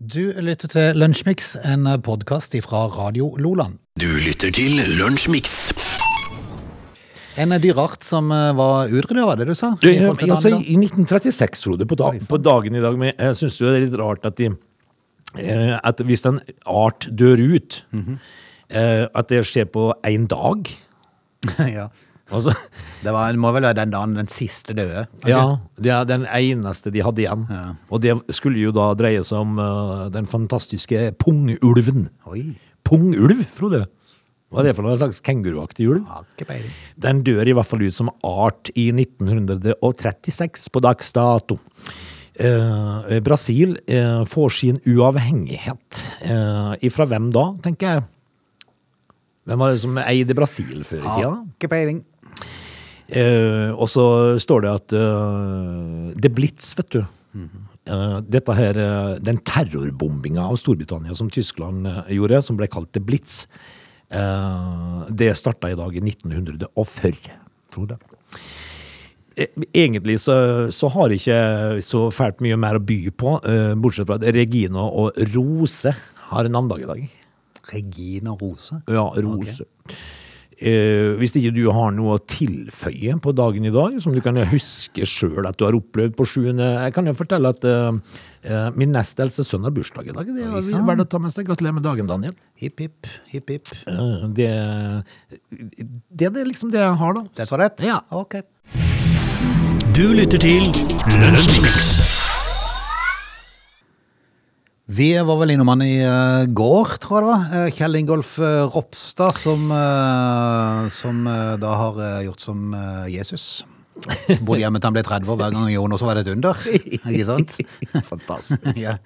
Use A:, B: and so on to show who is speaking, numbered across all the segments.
A: Du lytter til Lunsjmix, en podkast fra Radio Loland.
B: Du lytter til Lunsjmix.
A: En dyreart som eh, var utrydda, var det du sa?
C: Det,
A: I forhold til
C: altså,
A: den andre?
C: I 1936, Frode, på, da, på dagen i dag. Men jeg syns jo det er litt rart at de eh, At hvis en art dør ut, eh, at det skjer på én dag.
A: ja.
C: Altså,
A: Det var, må vel være den dagen den siste døde. kanskje?
C: ja, det er den eneste de hadde igjen. Og det skulle jo da dreie seg om eh, den fantastiske pungulven.
A: Oi,
C: Pungulv, Frode? Hva er det for noe slags kenguruaktig ulv?
A: har ikke peiling.
C: Den dør i hvert fall ut som art i 1936 på dags dato. Eh, Brasil eh, får sin uavhengighet. Eh, ifra hvem da, tenker jeg? Hvem var det som eide Brasil før i
A: Har
C: tida?
A: ikke peiling.
C: Eh, og så står det at eh, Det Blitz, vet du. Eh, dette her, eh, Den terrorbombinga av Storbritannia som Tyskland eh, gjorde, som ble kalt The Blitz, eh, det starta i dag i 1940, Frode. Eh, Egentlig så, så har jeg ikke så fælt mye mer å by på, eh, bortsett fra at Regina og Rose har navnedag i dag.
A: Regina Rose.
C: Ja, rose. Eh, hvis ikke du har noe å tilføye på dagen i dag, som du kan huske sjøl at du har opplevd på sjuende Jeg kan jo fortelle at eh, eh, min nest eldste sønn har bursdag i dag. Det
A: Oi,
C: har
A: sann.
C: vært å ta med seg. Gratulerer med dagen, Daniel.
A: Hipp, hipp, hipp, hipp.
C: Eh, det, det er det liksom det jeg har, da.
A: Det var rett?
C: Ja.
A: Ok.
B: Du lytter til Lunsjmix.
A: Vi var vel innom han i eh, går, tror jeg det var. Eh, Kjell Ingolf eh, Ropstad, som, eh, som eh, da har eh, gjort som eh, Jesus. Bodde hjemme til han ble 30 år. Hver gang han gjorde noe, så var det et under. Ikke sant?
C: Fantastisk.
A: Ja.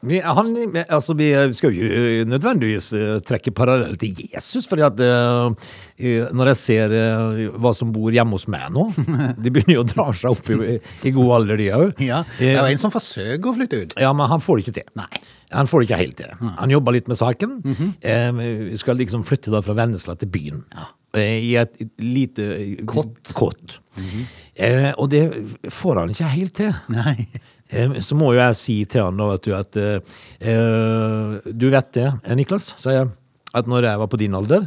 C: Vi, han, altså, vi skal jo ikke nødvendigvis eh, trekke parallell til Jesus, fordi at eh, eh, når jeg ser eh, hva som bor hjemme hos meg nå, de begynner jo å dra seg opp i, i god alder, de òg.
A: Ja, det er jo en som forsøker å flytte ut.
C: Ja, men han får det ikke til. Han får det ikke helt til. Han jobber litt med saken.
A: Mhm.
C: eh, skal liksom flytte da fra Vennesla til byen. Eh, I et lite Kott.
A: Mhm.
C: eh, og det får han ikke helt til.
A: Nei.
C: Eh, Så må jo jeg si til han da, vet du, at eh, Du vet det, eh, Niklas, sa jeg, at når jeg var på din alder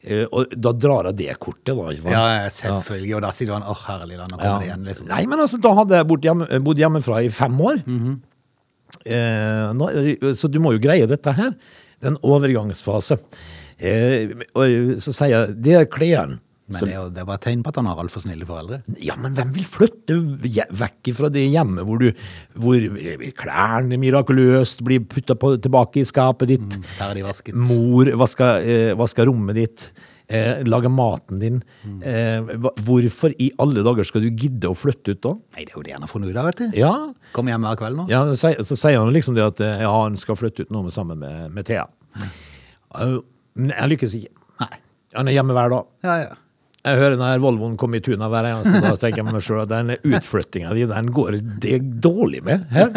C: eh, Og da drar jeg det kortet, da. ikke sant?
A: Ja, selvfølgelig. Og da sier han 'Å, herlig, da, nå
C: Ja.
A: kommer det igjen', liksom.
C: Nei, men altså, da hadde jeg bort hjemme, eh, bodd hjemmefra i fem år.
A: Mhm.
C: eh, nå, eh, så du må jo greie dette her. Det er en overgangsfase. Eh, og så sier jeg Det er klærne.
A: Men det, er jo- det var et tegn på at han har altfor snille foreldre.
C: Ja, men hvem vil flytte hje- vekk fra det hjemmet hvor, du, hvor klærne mirakuløst blir putta på- tilbake i skapet ditt?
A: Ferdig vasket.
C: Mor vasker, eh, vasker rommet ditt, eh, lager maten din. Eh, hva- hvorfor i alle dager skal du gidde å flytte ut da?
A: Nei, det er jo det han har funnet ut av, vet du.
C: Ja,
A: Kom hjem hver kveld nå.
C: ja, så, sier- så sier han liksom det at eh, ja, han skal flytte ut nå med, sammen med, med Thea. Eh, Men jeg lykkes ikke.
A: Nei.
C: Han er hjemme hver dag.
A: Ja, ja.
C: Jeg hører når Volvoen kommer i tuna hver eneste dag, tenker jeg med meg selv at den utflyttinga di, den går det dårlig med. Her.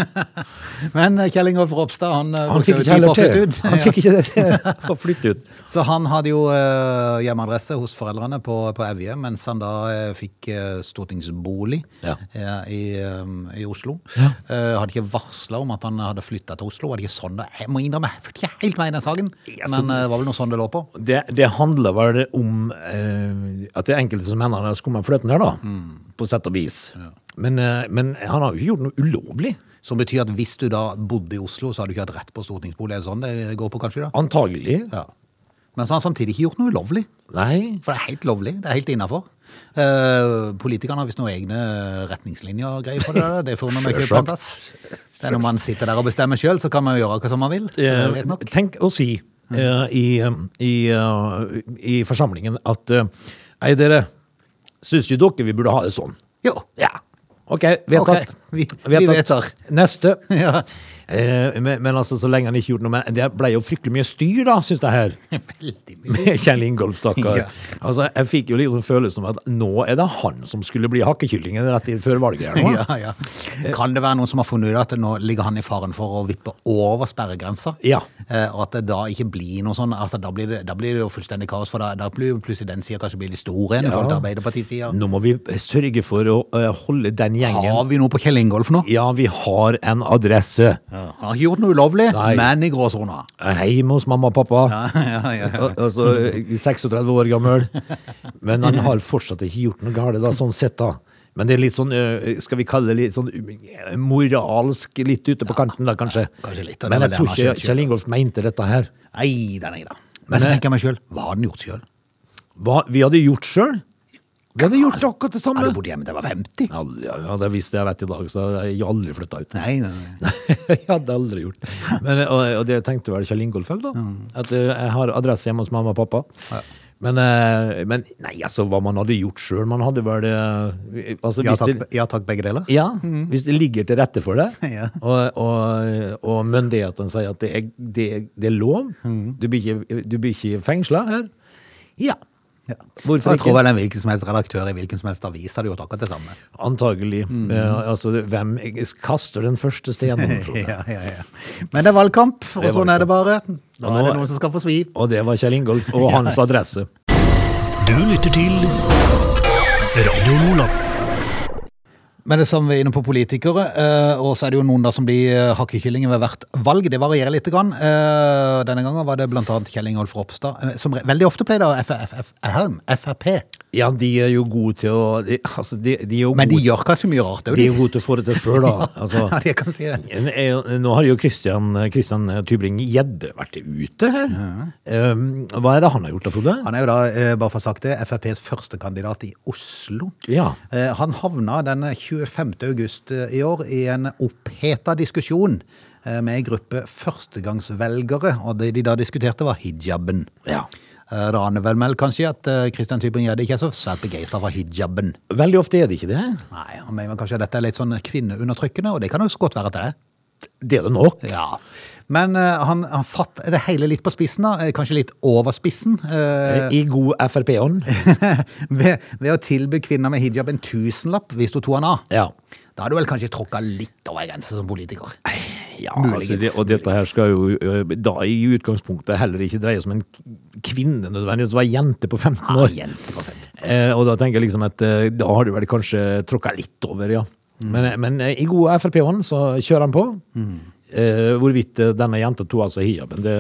A: Men eh, Kjell Ingolf Ropstad, han, eh,
C: Han
A: brukte jo tid på
C: fikk ikke
A: å
C: heller
A: flytte
C: til.
A: ut.
C: Han fikk ikke det til å flytte ut.
A: Så han hadde jo eh, hjemmeadresse hos foreldrene på, på Evje, mens han da eh, fikk eh, stortingsbolig
C: Ja.
A: eh, i, eh, i Oslo. Eh, hadde ikke varsla om at han hadde flytta til Oslo. Var det ikke sånn det? Jeg må innrømme, jeg fulgte ikke helt med i den saken,
C: Ja, så-
A: men eh, det var vel noe sånn det lå på.
C: Det, det handler vel om eh, at det er enkelte som mener han er skumma fløten her, da.
A: Mm.
C: På sett og vis. Men, eh, men han har jo ikke gjort noe ulovlig.
A: Som betyr at hvis du da bodde i Oslo, så hadde du ikke hatt rett på stortingsbolig. Er det sånn det går på, kanskje? da?
C: Antagelig.
A: Ja. Men så har han samtidig ikke gjort noe ulovlig.
C: Nei.
A: For det er helt lovlig. Det er helt innafor. Eh, politikerne har visst noen egne retningslinjer og greier på det. der. Det får man ikke på en plass. Det er når man sitter der og bestemmer sjøl, så kan man jo gjøre hva som man vil. Så det er jo greit nok.
C: Eh,
A: Mm.
C: Tenk å si eh, i, i, eh, i forsamlingen at eh, Ei, dere, syns jo dere vi burde ha det sånn?
A: Jo.
C: Ja. OK, vedtatt.
A: Ok, vi- vi
C: Vedtatt.
A: vedtar.
C: Neste.
A: Ja.
C: Eh, men, men altså, så lenge han ikke gjorde noe med Det ble jo fryktelig mye styr, da, syns jeg her.
A: Veldig mye.
C: Med Kjell Ingolf,
A: Ja.
C: stakkar. Altså, jeg fikk jo liksom følelsen av at nå er det han som skulle bli hakkekyllingen rett i- før valget. her nå.
A: Ja, ja. Kan det være noen som har funnet ut at nå ligger han i faren for å vippe over sperregrensa?
C: Ja.
A: Eh, Og at det da ikke blir noe sånn altså, da, blir det, da blir det jo fullstendig kaos, for da, da blir jo plutselig den sida kanskje blir litt stor igjen. i
C: Ja.
A: forhold til Arbeiderpartiet sier
C: Nå må vi sørge for å eh, holde den gjengen
A: Har vi noe på Kjell Ingolf nå?
C: Ja, vi har en adresse.
A: Han har ikke gjort noe ulovlig,
C: Nei.
A: men i gråsona.
C: Hjemme hos mamma og pappa.
A: Ja, ja, ja.
C: Al- Altså, 36 år gammel. Men han har fortsatt ikke gjort noe galt, da, sånn sett, da. Men det er litt sånn, ø, skal vi kalle det litt sånn ø, moralsk, litt ute på kanten da, kanskje.
A: kanskje litt, og det er
C: Men
A: vel
C: jeg
A: det
C: tror
A: han har
C: ikke
A: skjønt selv,
C: Kjell Ingolf mente dette her.
A: Nei da, nei da. Men så tenker jeg meg sjøl, hva hadde han gjort sjøl?
C: Hva vi hadde gjort sjøl? Vi hadde gjort akkurat det samme.
A: Hadde bodd hjemme til jeg var 50?
C: Ja, ja, ja, det visste jeg vet i dag, så jeg har aldri flytta ut.
A: Nei, nei, nei.
C: jeg hadde aldri gjort det. Men, og, og det tenkte vel Kjell Ingolf òg, da.
A: Mm.
C: At eh, jeg har adresse hjemme hos mamma og pappa. Men, eh, men nei, altså, hva man hadde gjort sjøl Man hadde vel eh, altså,
A: Ja
C: hvis,
A: takk,
C: det,
A: ja takk, begge deler.
C: ja, hvis det ligger til rette for det,
A: Mm. Ja.
C: og, og, og myndighetene sier at det er, det, er- det er lov,
A: Mm.
C: du blir ikke, du blir ikke fengsla her, ja.
A: Ja.
C: Hvorfor
A: jeg
C: ikke?
A: tror vel en hvilken som helst redaktør i hvilken som helst avis hadde gjort akkurat det samme.
C: Antagelig.
A: Mm.
C: Eh, altså, hvem kaster den første steinen? Frode?
A: Ja, ja, ja. Men det er valgkamp, og
C: Det er
A: sånn er det bare. Da
C: Og nå-
A: er det noen som skal få svi.
C: Og det var Kjell Ingolf og hans adresse.
B: Du lytter til Radio Nordland.
A: Men det samme vi er inne på politikere, eh, og så er det jo noen da som blir eh, hakkekyllinger ved hvert valg. Det varierer litt. Grann. Eh, Denne gangen var det blant annet Kjell Ingolf Ropstad, eh, som re- veldig ofte pleier å Frp.
C: Ja, de er jo gode til å de, altså, de, de er jo
A: Men de
C: gode,
A: gjør kanskje mye rart òg,
C: de
A: de.
C: er jo gode til å få det til sjøl, da. Altså,
A: Ja, de kan si det.
C: en- en- nå har jo Christian, Christian Tybring Gjedde vært ute her. Um, hva er det han har gjort da, Frode?
A: Han er jo da, eh, bare for å ha sagt det, FrPs førstekandidat i Oslo.
C: Ja.
A: Eh, Han havna den 25. august eh, i år i en oppheta diskusjon eh, med en gruppe førstegangsvelgere, og det de da diskuterte var hijaben.
C: ja.
A: Eh, Det aner vel vel kanskje at eh, Christian Tybring-Gjedde ikke er så svært begeistra for hijaben.
C: Veldig ofte er det ikke det.
A: Nei, han mener kanskje at dette er litt sånn kvinneundertrykkende, og det kan jo så godt være at det er.
C: Det er det nok.
A: Ja. Men eh, han, han satt det hele litt på spissen, da. eh, Kanskje litt over spissen. eh,
C: I god Frp-ånd.
A: ved, ved å tilby kvinner med hijab en tusenlapp hvis du tok han av.
C: Ja.
A: Da har du vel kanskje tråkka litt over grensa som politiker.
C: Ja,
A: Muligens,
C: altså det, og dette her skal jo ø, da i utgangspunktet heller ikke dreie seg om en kvinne nødvendigvis, det var ei jente på 15 år.
A: Ja, jente på 15.
C: Eh, og da tenker jeg liksom at eh, da har du vel kanskje tråkka litt over, ja. Men, men eh, i god Frp-ånd så kjører han på. Eh, hvorvidt eh, denne jenta tok altså hijaben, det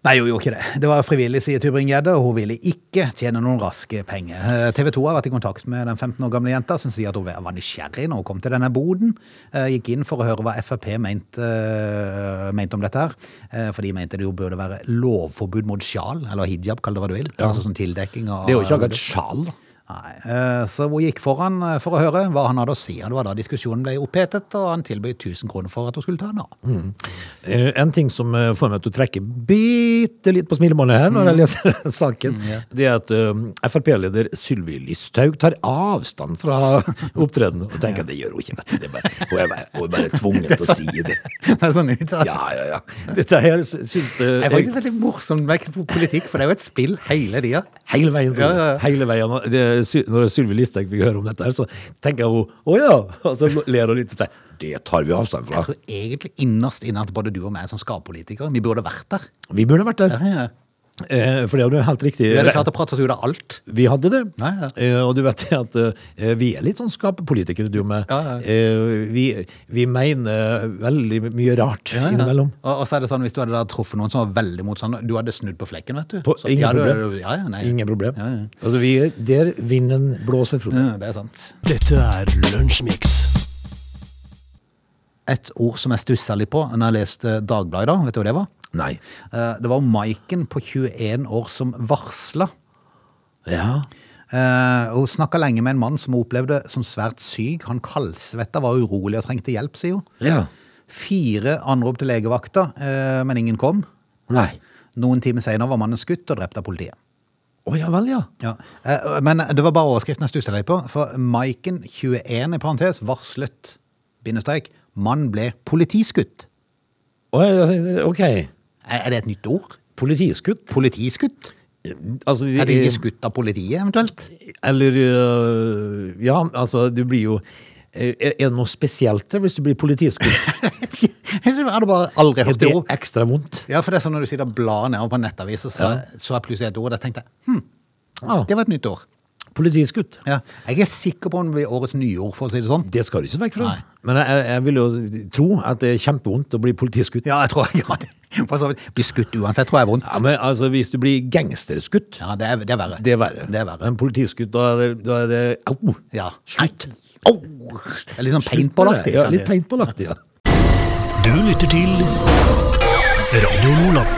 A: Nei, hun gjorde ikke det. Det var frivillig, sier Tybring-Gjedde, og hun ville ikke tjene noen raske penger. Eh, TV 2 har vært i kontakt med den 15 år gamle jenta, som sier at hun var nysgjerrig når hun kom til denne boden. Eh, Gikk inn for å høre hva Frp mente, eh, mente om dette her. Eh, For de mente det jo burde være lovforbud mot sjal, eller hijab, kall det hva du vil. Altså sånn tildekking av
C: Ah, Det er jo ikke akkurat sjal. da.
A: Nei, eh, Så hun gikk foran eh, for å høre hva han hadde å si. Det var da diskusjonen ble opphetet, og han tilbød 1000 kroner for at hun skulle ta den av.
C: Eh, En ting som eh, får meg til å trekke bitte litt på smilemålet her når jeg leser den saken, det er at eh, Frp-leder Sylvi Listhaug tar avstand fra opptredenen. Og tenker at det gjør hun ikke, vet du. Det er bare, hun, er bare, hun er bare tvunget til å si det.
A: Det er sånn uttalt.
C: Ja, ja, ja. Dette her syns
A: Det er
C: eh,
A: faktisk veldig morsomt med politikk, for det er jo et spill hele tida.
C: Hele veien. Frode.
A: Ja, ja, ja.
C: Hele veien. Og Det, Sy- når Sylvi Listhaug fikk høre om dette, her, så tenker hun å ja! Og så ler hun litt. sånn, Det tar vi avstand fra.
A: Jeg tror egentlig innerst inne at både du og meg som skappolitikere, vi burde vært der.
C: Vi burde vært der.
A: Ja, ja.
C: Eh, For det er jo helt riktig.
A: Vi hadde klart å prate oss ut av alt.
C: Vi hadde det.
A: Nei, ja.
C: Eh, og du vet det at eh, vi er litt sånn skapepolitikere, du og meg.
A: Ja, ja.
C: Eh, vi, vi mener veldig mye rart innimellom.
A: Og, og så er det sånn, Hvis du hadde da truffet noen som var veldig motstander, du hadde snudd på flekken, vet du.
C: På-
A: Så-
C: ingen
A: ja, du-
C: problem.
A: Ja, ja, nei.
C: Ingen problem.
A: Ja, ja.
C: Altså, vi, er der vinden blåser, Frode.
A: Ja, det er sant.
B: Dette er Lunsjmix.
A: Et ord som jeg stussa litt på når jeg leste Dagbladet i dag, vet du hva det var?
C: Nei.
A: Eh, Det var Maiken på 21 år som varsla.
C: Ja.
A: Eh, Hun snakka lenge med en mann som hun opplevde som svært syk. Han kaldsvetta, var urolig og trengte hjelp, sier hun.
C: Ja.
A: Fire anrop til legevakta, eh, men ingen kom.
C: Nei.
A: Noen timer senere var mannen skutt og drept av politiet.
C: Å ja vel, ja.
A: Ja. eh, Men det var bare overskriften jeg stussa litt på, for Maiken, 21 i parentes, varslet bindestrek, mann ble politiskutt.
C: Å, ja, altså, ok.
A: Er er det et nytt ord?
C: Politiskutt?
A: Politiskutt?
C: Altså,
A: Er de ikke skutt av politiet, eventuelt?
C: Eller øh, Ja, altså, du blir jo er er det noe spesielt der hvis du blir politiskutt?
A: Jeg hadde bare aldri
C: Er
A: hørt det
C: det
A: ordet.
C: ekstra vondt?
A: Ja, for det er sånn når du sitter og blar nedover på nettaviser, så, så er plutselig et ord. Jeg tenkte, hm,
C: Ja.
A: det var et nytt ord.
C: Politiskutt.
A: Ja. Jeg er sikker på om det blir årets nyord, for å si det sånn.
C: Det skal du ikke vekk fra.
A: Nei.
C: Men jeg, jeg vil jo tro at det er kjempevondt å bli politiskutt.
A: Ja, jeg tror jeg ja, det- for så vidt. Blir skutt uansett, tror jeg er vondt.
C: Ja, men altså, hvis du blir gangsterskutt,
A: Ja, det er, det er verre.
C: det er verre.
A: Det er verre.
C: Men politiskutt, da er det, da er det Au!
A: Ja.
C: Slutt!
A: Au! Det er litt sånn paintballaktig.
C: Ja,
A: kanskje.
C: litt paintballaktig, ja.
B: Du lytter til Radio Nordland.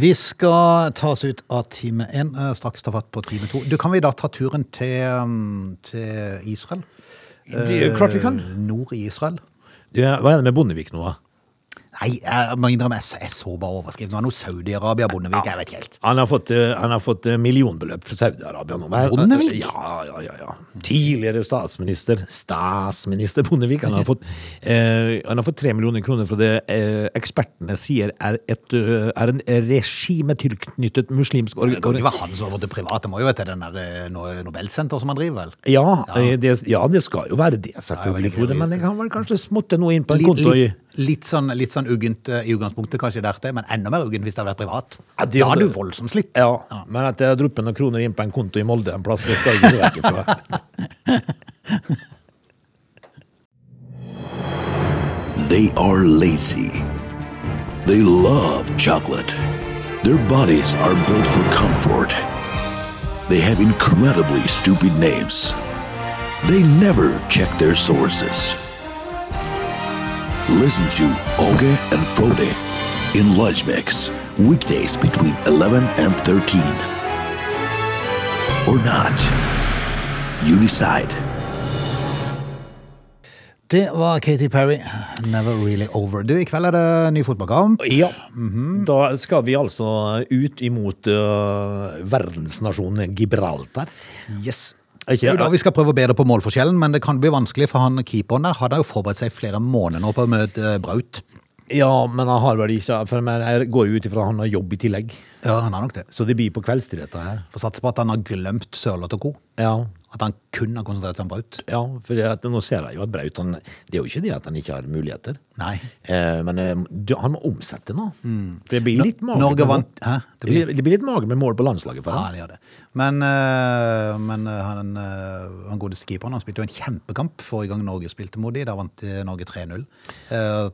A: Vi skal ta oss ut av time én, eh, straks ta fatt på time to. Du, kan vi da ta turen til, um, til Israel?
C: Det er klart vi kan.
A: Eh, Nord i Israel.
C: Ja, Hva er det med Bondevik nå, da?
A: Nei, jeg må innrømme, jeg, så- jeg så bare overskriften. Det var noe Saudi-Arabia, Bondevik, jeg vet ikke helt.
C: Han har fått, eh, han har fått eh, millionbeløp fra Saudi-Arabia nå. Hva er-
A: Bondevik?
C: Ja, ja, ja, ja. Tidligere statsminister, statsminister Bondevik, han har fått, eh, han har fått tre millioner kroner fra det eh, ekspertene sier er, et, eh, er en regimetilknyttet muslimsk
A: Det kan jo
C: organ.
A: ikke være han som har fått det private, det må jo være til den der eh, no- Nobelsenter som han driver, vel?
C: Ja, eh, det, ja, det skal jo være det, selvfølgelig,
A: Ja, jeg vet ikke.
C: Frode, men jeg kan vel kanskje smotte noe inn på en
A: Litt,
C: konto i
A: litt, litt sånn, litt sånn uggent eh, i utgangspunktet kanskje der til, men enda mer uggent hvis det hadde vært privat.
C: Ja, det
A: da hadde du
C: hadde-
A: voldsomt slitt.
C: ja, men at jeg har druppet noen kroner inn på en konto i Molde en plass, det skal jeg ikke vekk fra.
D: They are lazy. They love chocolate. Their bodies are built for comfort. They have incredibly stupid names. They never check their sources. Listen to Oge and Frode in Lunch Mix, weekdays between 11 and 13. Or not. You decide.
A: Det var Katy Perry, Never Really Over. Du, i kveld er det ny fotballkamp.
C: Ja.
A: Mhm.
C: Da skal vi altså ut imot øh, verdensnasjonen Gibraltar.
A: Yes.
C: Ikke-
A: Det er jo da vi skal prøve å bedre på målforskjellen, men det kan bli vanskelig, for han keeperen der hadde jo forberedt seg flere måneder nå på å møte eh, Braut.
C: Ja, men han har vel ikke For men jeg går jo ut ifra han har jobb i tillegg.
A: Ja, han har nok det.
C: Så det blir på kveldstid, dette her.
A: Får satse på at han har glemt Sørloth og co.
C: Ja.
A: At han kun har konsentrert seg om Braut.
C: Ja, for det at, nå ser jeg jo at Braut han, Det er jo ikke det at han ikke har muligheter.
A: Nei.
C: Eh, men eh, du, han må omsette nå. For det blir litt magert.
A: Mm. Norge
C: med-
A: vant. Hæ? Ah.
C: Det blir, det blir litt magert med mål på landslaget for
A: Ja,
C: han.
A: det gjør det. Men, eh, men eh, han, eh, han godeste keeperen han spilte jo en kjempekamp forrige gang Norge spilte mot dem. Da vant eh, Norge 3-0. Eh,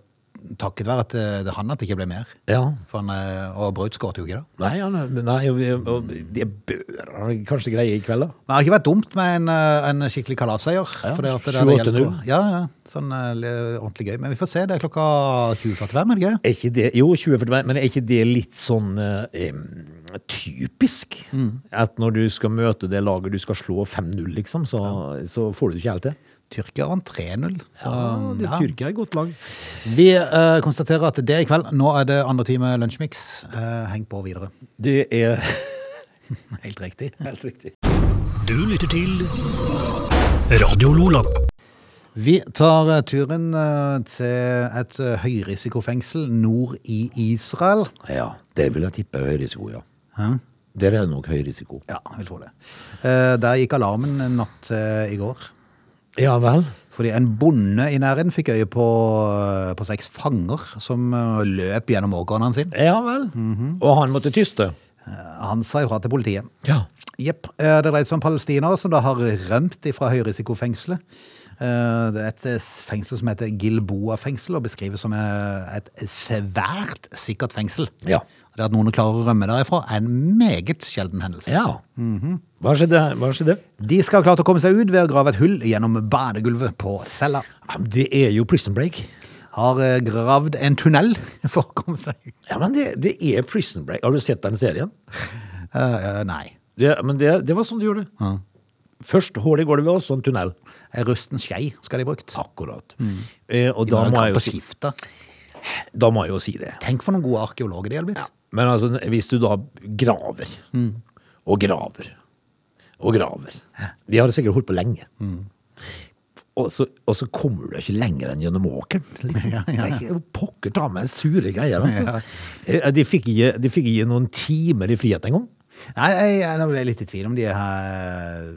A: Takket være at eh, det er han at det ikke ble mer.
C: Ja.
A: For han, eh, og Braut skåret jo ikke, da.
C: Nei, han, nei og, og, det bør han kanskje greie i kveld, da.
A: Men det hadde ikke vært dumt med en, eh, en skikkelig kalasseier.
C: Ja,
A: fordi at det
C: 7-8-0.
A: hadde hjulpet. Ja, ja. Sånn eh, le- ordentlig gøy. Men vi får se. Det er klokka 20.45, er det ikke det?
C: Er ikke det, jo, 2045, men er ikke det litt sånn eh, em, typisk? At når du skal møte det laget du skal slå 5-0, liksom, så, så får du det ikke helt til.
A: Tyrkia vant 3-0. Så
C: Ja, det
A: ja.
C: Tyrkia er et godt lag.
A: Vi eh, konstaterer at det er i kveld. Nå er det andre time Lunsjmix. Eh, heng på videre.
C: Det er
A: Helt riktig.
C: helt riktig.
B: Du lytter til Radio Nordland.
A: Vi tar eh, turen eh, til et eh, høyrisikofengsel nord i Israel.
C: Ja, det vil jeg tippe er høy risiko, ja.
A: Hæ?
C: Der er det nok høy risiko.
A: Ja, jeg vil tro det. Eh, Der gikk alarmen en natt eh, i går.
C: Ja vel?
A: Fordi en bonde i nærheten fikk øye på, eh, på seks fanger som eh, løp gjennom åkeren hans. sin.
C: Ja vel. Og han måtte tyste?
A: Eh, Han sa ifra til politiet.
C: Ja.
A: Jepp. eh, Det dreier seg om palestinere som da har rømt fra høyrisikofengselet. Eh, Det er et eh, fengsel som heter Gilboa-fengsel, og beskrives som eh, et svært sikkert fengsel.
C: Ja.
A: Det at noen klarer å rømme derifra, er en meget sjelden hendelse.
C: ja. Hva skjedde? Hva skjedde?
A: De skal ha klart å komme seg ut ved å grave et hull gjennom badegulvet på cella.
C: Ja, Det er jo prison break.
A: Har eh, gravd en tunnel for å komme seg ut.
C: Ja, men det, det er prison break. Har du sett den serien?
A: Eh, eh, nei.
C: Det, men det, det var sånn du gjorde det. Først hull i gulvet, og så en tunnel.
A: En rusten skei skal de ha brukt.
C: Akkurat. Eh, og
A: De
C: da
A: må
C: må,
A: ha
C: jeg
A: gått
C: jo
A: på
C: si,
A: skifte.
C: da må jeg jo si det.
A: Tenk for noen gode arkeologer de hadde blitt.
C: Ja. Men altså, hvis du da graver, og graver, og graver De har sikkert holdt på lenge. Og, så, og så kommer du ikke lenger enn gjennom åkeren. Liksom. Det er ikke- Pokker ta meg sure greier, altså. Eh, De fikk ikke, de fikk ikke noen timer i frihet engang.
A: Nei, jeg, jeg, nå ble jeg litt i tvil om de her eh,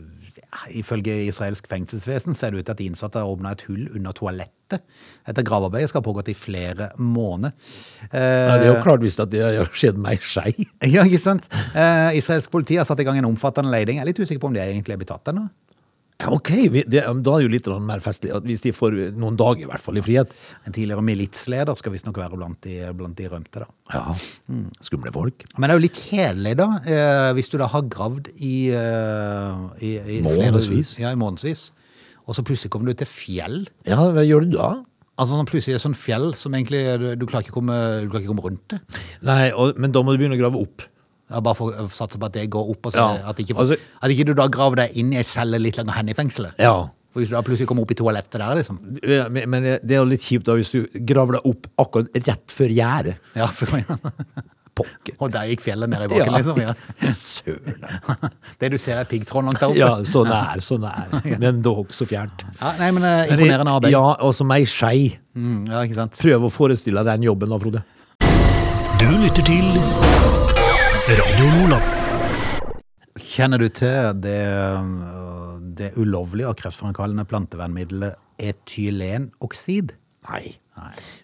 A: Ifølge israelsk fengselsvesen ser det ut til at de innsatte har åpna et hull under toalettet. Dette gravearbeidet skal ha pågått i flere måneder. Eh,
C: Nei, det er jo klart visst at det har skjedd meg skei.
A: ja, ikke sant? Eh, israelsk politi har satt i gang en omfattende leiding. Jeg er litt usikker på om de egentlig er blitt tatt ennå.
C: Ja, ok, vi, det, da er det jo litt grann mer festlig at hvis de får noen dager i hvert fall i frihet.
A: En tidligere militsleder skal visstnok være blant de, blant de rømte. da.
C: Ja, skumle folk.
A: Men det er jo litt kjedelig, da, eh, hvis du da har gravd i, eh, i, i flere-
C: Månedsvis.
A: Ja, i månedsvis. Og så plutselig kommer du til fjell.
C: Ja, hva gjør du da?
A: Altså sånn plutselig er det sånn fjell som egentlig du, du, klarer ikke å komme, du klarer ikke å komme rundt det.
C: Nei, og, men da må du begynne å grave opp.
A: Ja, bare for å satse på at det går opp, og så,
C: Ja,
A: at, ikke,
C: altså-
A: at ikke du da graver deg inn i ei celle litt lenger hen i fengselet.
C: Ja.
A: For hvis du da plutselig kommer opp i toalettet der, liksom.
C: Men men det er jo litt kjipt da hvis du graver deg opp akkurat rett før gjerdet.
A: Ja, for,
C: Pokker.
A: og der gikk fjellet ned i bakken, liksom. Ja.
C: Søren.
A: Det du ser er piggtråden langt der oppe.
C: Ja, så nær, så nær. Men dog så fjernt.
A: Ja, nei, men eh, imponerende arbeid.
C: Ja, også meg skei.
A: Mm, ja, ikke sant?
C: Prøv å forestille deg den jobben da, Frode.
B: Du lytter til Radio Lola.
A: Kjenner du til det, øh, det ulovlige og kreftfremkallende plantevernmiddelet etylenoksid?
C: Nei.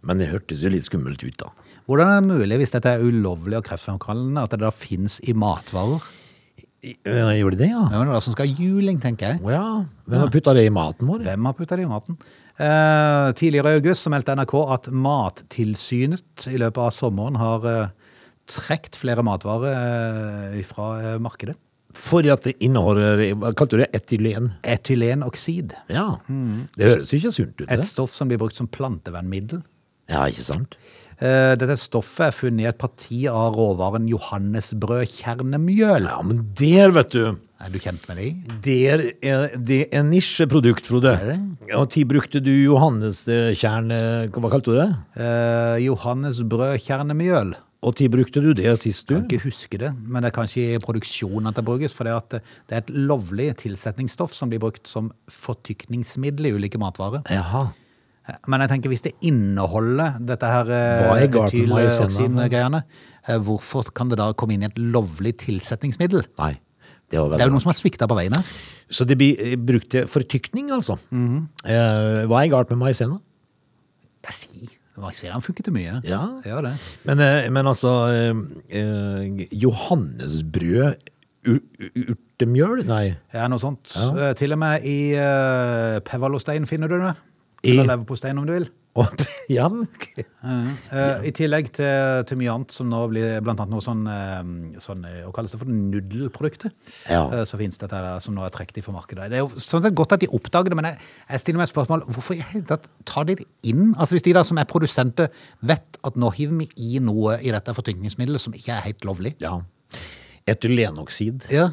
C: Men det hørtes jo litt skummelt ut da.
A: Hvordan er det mulig, hvis dette er ulovlig og kreftfremkallende, at det da finnes i matvarer?
C: I- øh, Gjorde det, ja?
A: Hvem er det da som skal ha juling, tenker jeg?
C: Å ja. Hvem har putta det i maten vår?
A: Hvem har putta det i maten? Eh, tidligere i august så meldte NRK at Mattilsynet i løpet av sommeren har eh, trukket flere matvarer eh, fra eh, markedet.
C: For at det inneholder Hva kalte du det? Etylen?
A: Etylenoksid.
C: Ja. Det høres jo ikke sunt ut,
A: Et
C: det.
A: stoff som blir brukt som plantevernmiddel.
C: Ja, ikke sant?
A: Eh, Dette stoffet er funnet i et parti av råvaren johannesbrødkjernemjøl.
C: Ja, men der, vet du.
A: Er du kjent med det?
C: Der er det er nisjeprodukt, Frode. Og tid brukte du Johanneskjern eh, Hva kalte du det?
A: Eh, Johannesbrødkjernemjøl.
C: Og tid brukte du det sist,
A: Jeg kan
C: du?
A: ikke huske det, men det er kanskje i produksjonen at det brukes. For det, at det er et lovlig tilsetningsstoff som blir brukt som fortykningsmiddel i ulike matvarer.
C: Jaha.
A: Eh, Men jeg tenker hvis det inneholder dette her
C: Hva er galt med maisena?
A: etyloksin-greiene, hvorfor kan det da komme inn i et lovlig tilsetningsmiddel?
C: Nei. Det var
A: Det er jo
C: veldig
A: noen som har svikta på veien her.
C: Så det blir eh, brukt til fortykning, altså. eh, hva er galt med maisena?
A: Jeg sier, jeg sier han funker til mye.
C: Ja.
A: Jeg gjør det.
C: Men, eh, men altså eh, eh, Johannesbrød u- u- Urtemjøl? Nei.
A: Ja, noe sånt.
C: Ja.
A: Eh, Til og med i uh, pevalostein finner du det.
C: I-
A: Eller leverpostein, om du vil.
C: Og- ja, men-
A: Eh, I tillegg til, til mye annet, som nå blir blant annet noe sånn, eh, sånn eh, Hva kalles det for? Nudelprodukter.
C: Ja.
A: Eh, så finnes dette her som nå er trukket fra markedet. Det er jo sånn sett godt at de oppdager det, men jeg, jeg stiller meg et spørsmål hvorfor i hele tatt tar de det inn? Altså Hvis de da som er produsenter vet at nå hiver vi i noe i dette fortykningsmiddelet som ikke er helt lovlig.
C: ja. Etylenoksid.
A: Ja.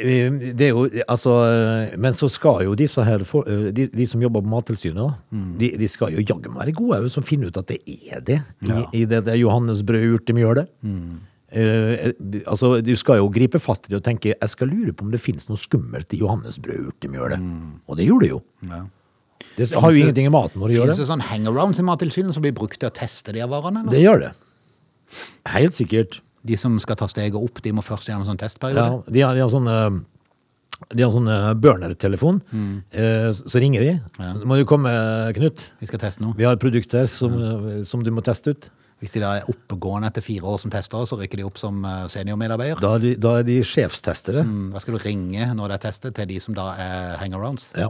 C: Eh, Det er jo, altså, eh, men så skal jo disse her, for- eh, de, de som jobber på Mattilsynet, da,
A: Mm.
C: de, de skal jo jaggu meg være gode også, som finner ut at det er det i, i det, det Johannesbrød-urtemjølet.
A: Mm.
C: Eh, eh, altså, du skal jo gripe fatt i det og tenke jeg skal lure på om det finnes noe skummelt i Johannesbrød-urtemjølet. Og det gjorde det jo.
A: Mm. ja.
C: Det har
A: Finnes
C: jo
A: det-
C: ingenting i maten vår å gjøre.
A: Finnes det sånn hangarounds i Mattilsynet som blir brukt til å teste de her varene? Eller?
C: Det gjør det. Helt sikkert.
A: De som skal ta steget opp, de må først gjennom en sånn testperiode?
C: Ja, de har, de har sånne de har sånn burner-telefon.
A: Mm.
C: Eh, Så så ringer de. Må du komme, Knut?
A: Vi skal teste noe.
C: Vi har produkter som, eh, som du må teste ut.
A: Hvis de da er oppegående etter fire år som tester, så rykker de opp som eh, seniormedarbeider.
C: Da er de, da er de sjefstestere.
A: Mm, Da skal du ringe når det er testet, til de som da er hangarounds.
C: Ja.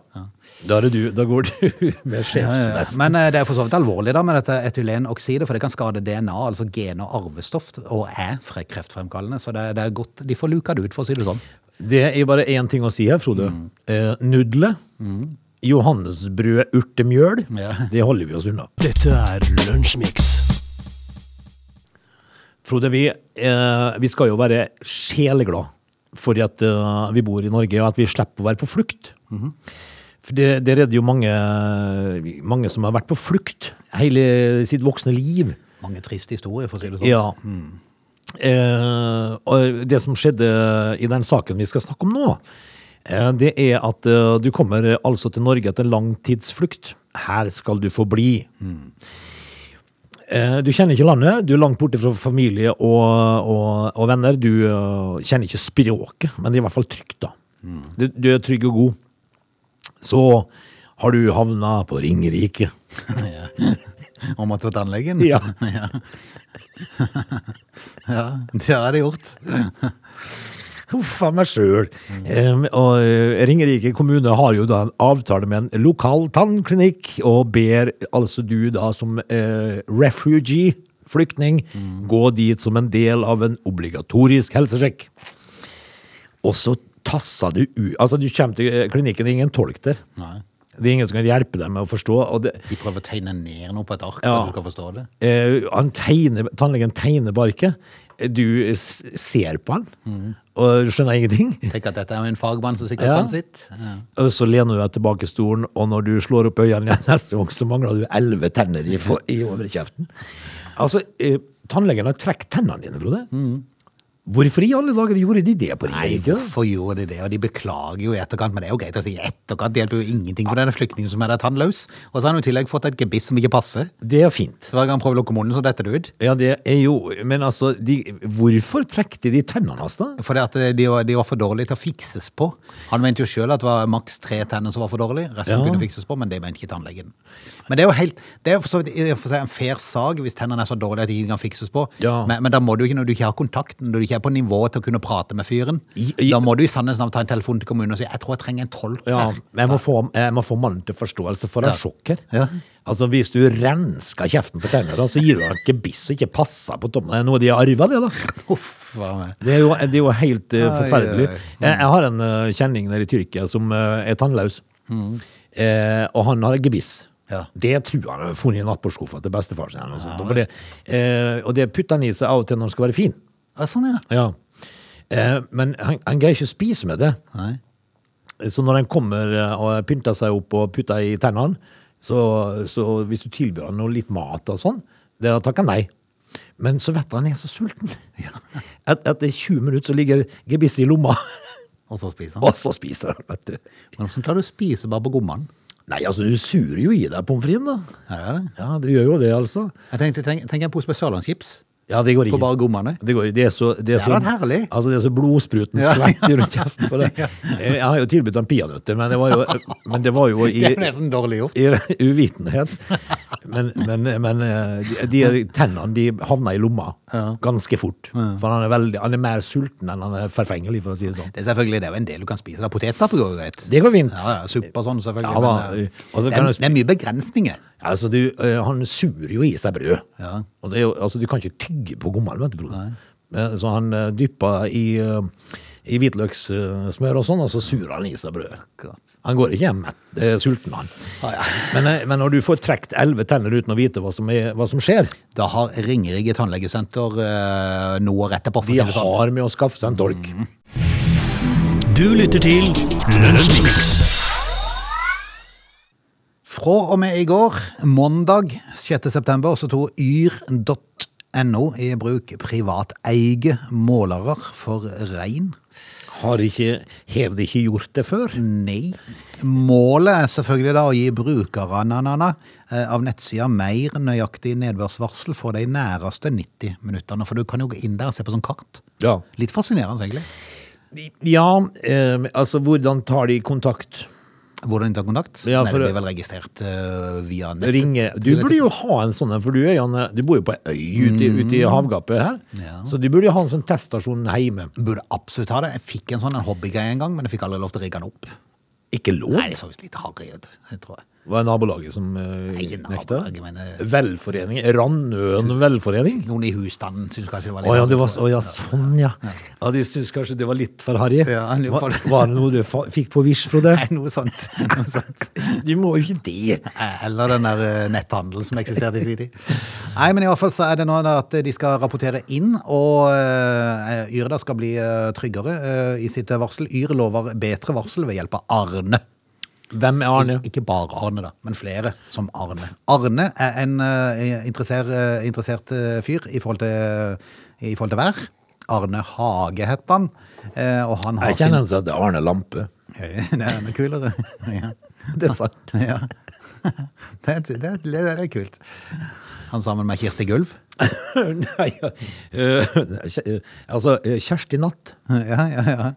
C: Da, er det du, da går du med
A: Eh,
C: sjefsvesten.
A: Men eh, det er for så vidt alvorlig da med dette etylenoksidet, for det kan skade DNA, altså gen og arvestoff, og er fre- kreftfremkallende. Så det, det er godt de får luka det ut, for å si det sånn.
C: Det er bare én ting å si her, Frode.
A: Mm.
C: Eh, Nudler. Johannesbrød, urtemjøl.
A: Ja.
C: Det holder vi oss unna.
B: Dette er Lunsjmix.
C: Frode, vi, eh, vi skal jo være sjeleglad for at eh, vi bor i Norge, og at vi slipper å være på flukt. For det, det redder jo mange, mange som har vært på flukt hele sitt voksne liv.
A: Mange triste historier, for å si det sånn.
C: Ja. Eh, og det som skjedde i den saken vi skal snakke om nå, eh, det er at eh, du kommer eh, altså til Norge etter langtidsflukt. Her skal du få bli. Eh, Du kjenner ikke landet, du er langt borte fra familie og, og, og venner. Du eh, kjenner ikke språket, men det er i hvert fall trygt, da. Du, du er trygg og god. Så har du havna på Ringerike.
A: Og måtte til tannlegen?
C: Ja.
A: Ja, det har jeg gjort.
C: Huff a meg sjøl. Eh, og eh, Ringerike kommune har jo da en avtale med en lokal tannklinikk, og ber altså du da som eh, refugee, flyktning, gå dit som en del av en obligatorisk helsesjekk. Og så tasser du ut Altså, du kommer til eh, klinikken, det er ingen tolk der.
A: Nei.
C: Det er ingen som kan hjelpe deg med å forstå. og det...
A: De prøver å tegne ned noe på et ark for
C: Ja.
A: at du skal forstå det.
C: Eh, han tegner, tannlegen tegner bare ikke. Du eh, s- ser på han og skjønner ingenting.
A: Tenk at dette er jo en fagmann som sikkert
C: Ja.
A: kan sitt. Ja.
C: Og så lener du deg tilbake i stolen, og når du slår opp øynene igjen neste gang, så mangler du elleve tenner i, for- i overkjeften. Altså, eh, tannlegen har trukket tennene dine, Frode. Hvorfor i alle dager gjorde de det på
A: Nei,
C: Ringerike? da?
A: hvorfor gjorde de det? Og de beklager jo i etterkant, men det er jo greit å si i etterkant. Det hjelper jo ingenting for denne flyktningen som er der tannløs. Og så har han jo i tillegg fått et gebiss som ikke passer.
C: Det er fint.
A: Så hver gang han prøver å lukke munnen, så detter det ut.
C: Ja, det er jo Men altså, de, hvorfor trekte de tennene hans, da?
A: Fordi at eh, de var, de var for dårlige til å fikses på. Han mente jo sjøl at det var maks tre tenner som var for dårlige. Resten
C: Ja.
A: kunne fikses på, men det mente ikke tannlegen. Men det er jo helt, det er jo for så vidt i og for seg en fair sag hvis tennene er så dårlige at de ikke kan fikses på.
C: Ja.
A: Men, men da må du ikke, når du ikke har kontakten, når du ikke er på nivå til å kunne prate med fyren,
C: I- i-
A: da må du i sannhets navn ta en telefon til kommunen og si jeg tror jeg trenger en tolk
C: Ja,
A: her.
C: men jeg må få, jeg må få mannen til forståelse for en sjokk her.
A: Ja.
C: Altså, hvis du rensker kjeften for tenner, da, så gir du han et gebiss som ikke passer på tommelen. Det er noe de har arva, det, da.
A: Uff, hva med-
C: Det er jo, det er jo helt eh,
A: Ai,
C: forferdelig.
A: ai.
C: Jeg, jeg har en eh, kjenning nede i Tyrkia som eh, er tannløs. Eh, og han har et gebiss.
A: Mm. Ja.
C: Det tror jeg han har funnet i nattbordskuffa til bestefar sin. eller noe sånt. Og det- eh, og det putter han i seg av og til når han skal være fin.
A: Ja, sånn, ja.
C: Ja. Eh, men han, han greier ikke å spise med det.
A: Nei.
C: Så når den kommer eh, og pynter seg opp og putter i tennene, så, så hvis du tilbyr han noe litt mat og sånn, det takker han nei. Men så vet han han er så sulten. Et, etter 20 minutter så ligger gebisset i lomma,
A: Og så spiser han.
C: og så spiser han, vet du.
A: Men hvordan klarer du å spise bare på gommene?
C: Nei, altså, du surer jo i deg pommes frites, da.
A: Er det det?
C: Ja, du gjør jo det, altså.
A: Jeg tenkte, tenk, tenk en pose spesiallandschips
C: Ja, det går
A: på
C: ikke.
A: bare gommene.
C: Det, går, det er så, det er
A: Det
C: så,
A: hadde vært herlig.
C: Altså, det er så blodspruten
A: Ja.
C: skvetter rundt kjeften på deg. Jeg jeg har jo tilbudt ham peanøtter, men det var jo, men det var jo i
A: Det er jo nesten dårlig gjort.
C: i uvitenhet. Men, men, men eh, de- de tennene de havna i lomma ganske fort. For han er, veldig, han er mer sulten enn han er forfengelig, for å si det sånn.
A: Det er selvfølgelig det er jo en del du kan spise. Da. Potetstappe går jo greit.
C: Det går fint.
A: Ja, ja, Suppe og sånn, selvfølgelig.
C: Ja, da,
A: men, eh,
C: og så
A: det,
C: kan
A: er,
C: jeg sp-
A: det er mye begrensninger.
C: Altså, du, eh, han surer jo i seg brød.
A: Ja.
C: Og det er jo, altså, du kan ikke tygge på gommene, vet du, bror. Eh, Så han eh, dypper i, eh, i hvitløkssmør og sånn, og så surer han i seg brød. Han går ikke hjem mett, eh, sulten, han. Men, eh, men når du får trukket elleve tenner uten å vite hva som, er, hva som skjer,
A: Da har Ringerike tannlegesenter eh, noe å rette på. for å
C: de
A: si det sånn. Mm.
C: har med å skaffe seg en dolk.
B: Du lytter til Lunsjmix.
A: Fra og med i går, mandag 6. september, så tok yr.no i bruk privateie målere for regn.
C: Har ikke, har de ikke gjort det før?
A: Nei. Målet er selvfølgelig da å gi brukerne nana, eh, av nettsida mer nøyaktig nedbørsvarsel for de næreste 90 minuttene. For du kan jo gå inn der og se på sånn kart.
C: Ja.
A: Litt fascinerende, egentlig.
C: Ja, eh, altså hvordan tar de kontakt?
A: Hvordan ta kontakt?
C: Ja, for-
A: Nei, det blir vel registrert eh, via nettet.
C: Ringe. Du burde jo ha en sånn en, for du, er jo en- du bor jo på ei øy ute, i- ute i havgapet her.
A: Mm. Ja.
C: Så du burde jo ha en sånn teststasjon hjemme.
A: Burde absolutt ha det. Jeg fikk en sånn en hobbygreie en gang, men jeg fikk aldri lov til å rigge den opp.
C: Ikke lov?
A: Nei, det så visst litt harry ut, det tror jeg.
C: Var det nabolaget som eh,
A: Nei, ikke
C: nekta?
A: nabolaget, men, eh,
C: Velforening? Randøen velforening?
A: Noen i husstanden syns kanskje det var
C: Å
A: litt
C: ja,
A: harry,
C: det var,
A: tror jeg.
C: å, ja, sånn, ja. ja. De syntes kanskje det var litt for harry.
A: Ja, han gjorde
C: var,
A: det.
C: var det noe du fa fikk på Wish, Frode?
A: Nei, noe sånt. Noe sånt.
C: Du må jo ikke det.
A: Eller den der eh, netthandelen som eksisterte i sin tid. Nei, men i hvert fall så er det nå da at de skal rapportere inn, og uh, Yr da skal bli eh, tryggere eh, i sitt varsel. Yr lover bedre varsel ved hjelp av Arne.
C: Hvem er Arne?
A: Ikke bare Arne, da, men flere som Arne. Arne er en eh, interesser, eh, interessert eh, fyr i forhold, til, i forhold til vær. Arne Hage heter han. eh, og han har
C: Jeg kjenner han som heter Arne Lampe.
A: sin Det er noe kulere. ja.
C: Det er sant.
A: ja. Det, er- det, er- det er kult. Han sammen med Kirsti Gulv.
C: Nei, ja. Eh, kje- eh, altså, eh, Kjersti Natt.
A: ja, ja, ja.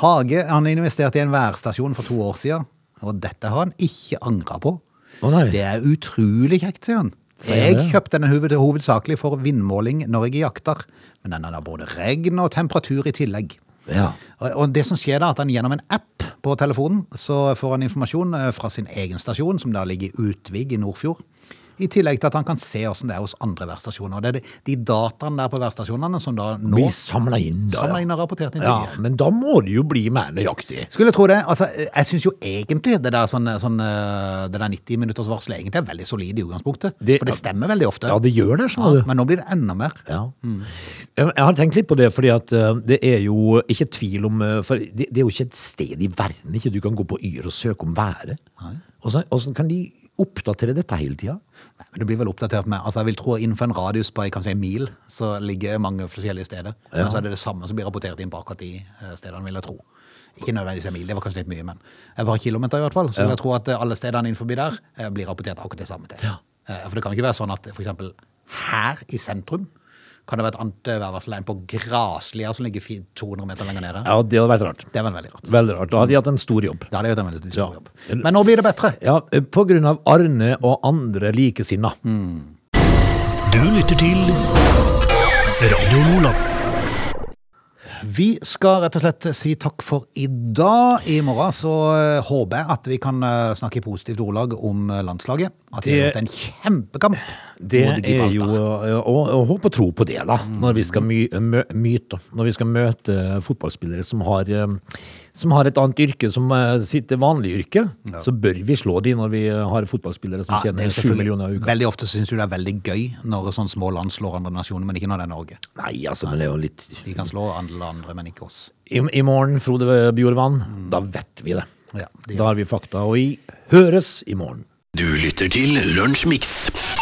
A: Hage han investerte i en værstasjon for to år siden, og dette har han ikke angra på.
C: Å nei.
A: Det er utrolig kjekt, sier han.
C: Sier han
A: Jeg
C: det?
A: kjøpte den hoved, hovedsakelig for vindmåling når jeg jakter, men den har da både regn og temperatur i tillegg.
C: Ja.
A: Og- Og det som skjer da, at han gjennom en app på telefonen, så får han informasjon eh, fra sin egen stasjon, som da ligger i Utvig i Nordfjord. I tillegg til at han kan se hvordan det er hos andre værstasjoner. Og Det er de- de dataene der på værstasjonene som da nå
C: Vi samla inn, da.
A: Samlet inn og rapportert inn til
C: ja,
A: dere.
C: men da må det jo bli mer nøyaktig.
A: Skulle tro det. Altså, jeg syns jo egentlig det der, sånn, sånn, eh, det der 90 minutters varselet egentlig er veldig solid i utgangspunktet.
C: Det-
A: for det stemmer veldig ofte.
C: Ja, det gjør det, skjønner
A: Ja,
C: du.
A: men Mm. nå blir det enda mer.
C: Ja. Jeg jeg har tenkt litt på det, fordi at eh, det er jo ikke tvil om eh, For det, det er jo ikke et sted i verden ikke du kan gå på Yr og søke om været. Åssen åssen kan de oppdatere dette hele tida?
A: Nei, men det blir vel oppdatert med altså Jeg vil tro innenfor en radius på kanskje en mil så ligger mange forskjellige steder. Men så er det det samme som blir rapportert inn på akkurat de eh, stedene, vil jeg tro. Ikke nødvendigvis en mil, det var kanskje litt mye, men et par kilometer i hvert fall. Så vil jeg tro at eh, alle stedene innenfor der eh, blir rapportert akkurat det samme til. Eh, For det kan ikke være sånn at f.eks. her i sentrum kan det være et annet eh, værvarsel enn på Graslia, som ligger fi- 200 meter lenger nede.
C: Ja, det hadde vært rart.
A: Det er vel veldig rart.
C: Veldig rart. Da hadde de hatt en stor jobb.
A: Da hadde jeg vært en veldig stor
C: Ja.
A: jobb. Men nå blir det bedre.
C: Ja, eh, på grunn av Arne og andre likesinna.
A: Mm.
B: Du lytter til Radio Nordland.
A: Vi skal rett og slett si takk for i dag. I morgen så eh, håper jeg at vi kan eh, snakke i positivt ordlag om eh, landslaget. At de har
C: Det-
A: gjort en kjempekamp
C: Det
A: mot
C: er jo
A: Gibraltar.
C: eh, å, å håpe og tro på det, da.
A: Mm.
C: Når vi skal, my, mø, myte, når vi skal møte fotballspillere som har, eh, som har et annet yrke, som eh, sitt vanlige yrke, så bør vi slå de når vi har fotballspillere som
A: Ja, det er
C: tjener
A: jo
C: 7
A: selvfølgelig-
C: millioner i uka.
A: Veldig ofte syns du det er veldig gøy når sånne små land slår andre nasjoner, men ikke når det er Norge.
C: Nei, altså, men det er jo litt
A: De kan slå alle andre, men ikke oss.
C: I, i morgen, Frode Bjorvann, da vet vi det.
A: Ja, Mm. det gjør
C: da har vi fakta. Og vi høres i morgen.
B: Du lytter til Lunsjmix.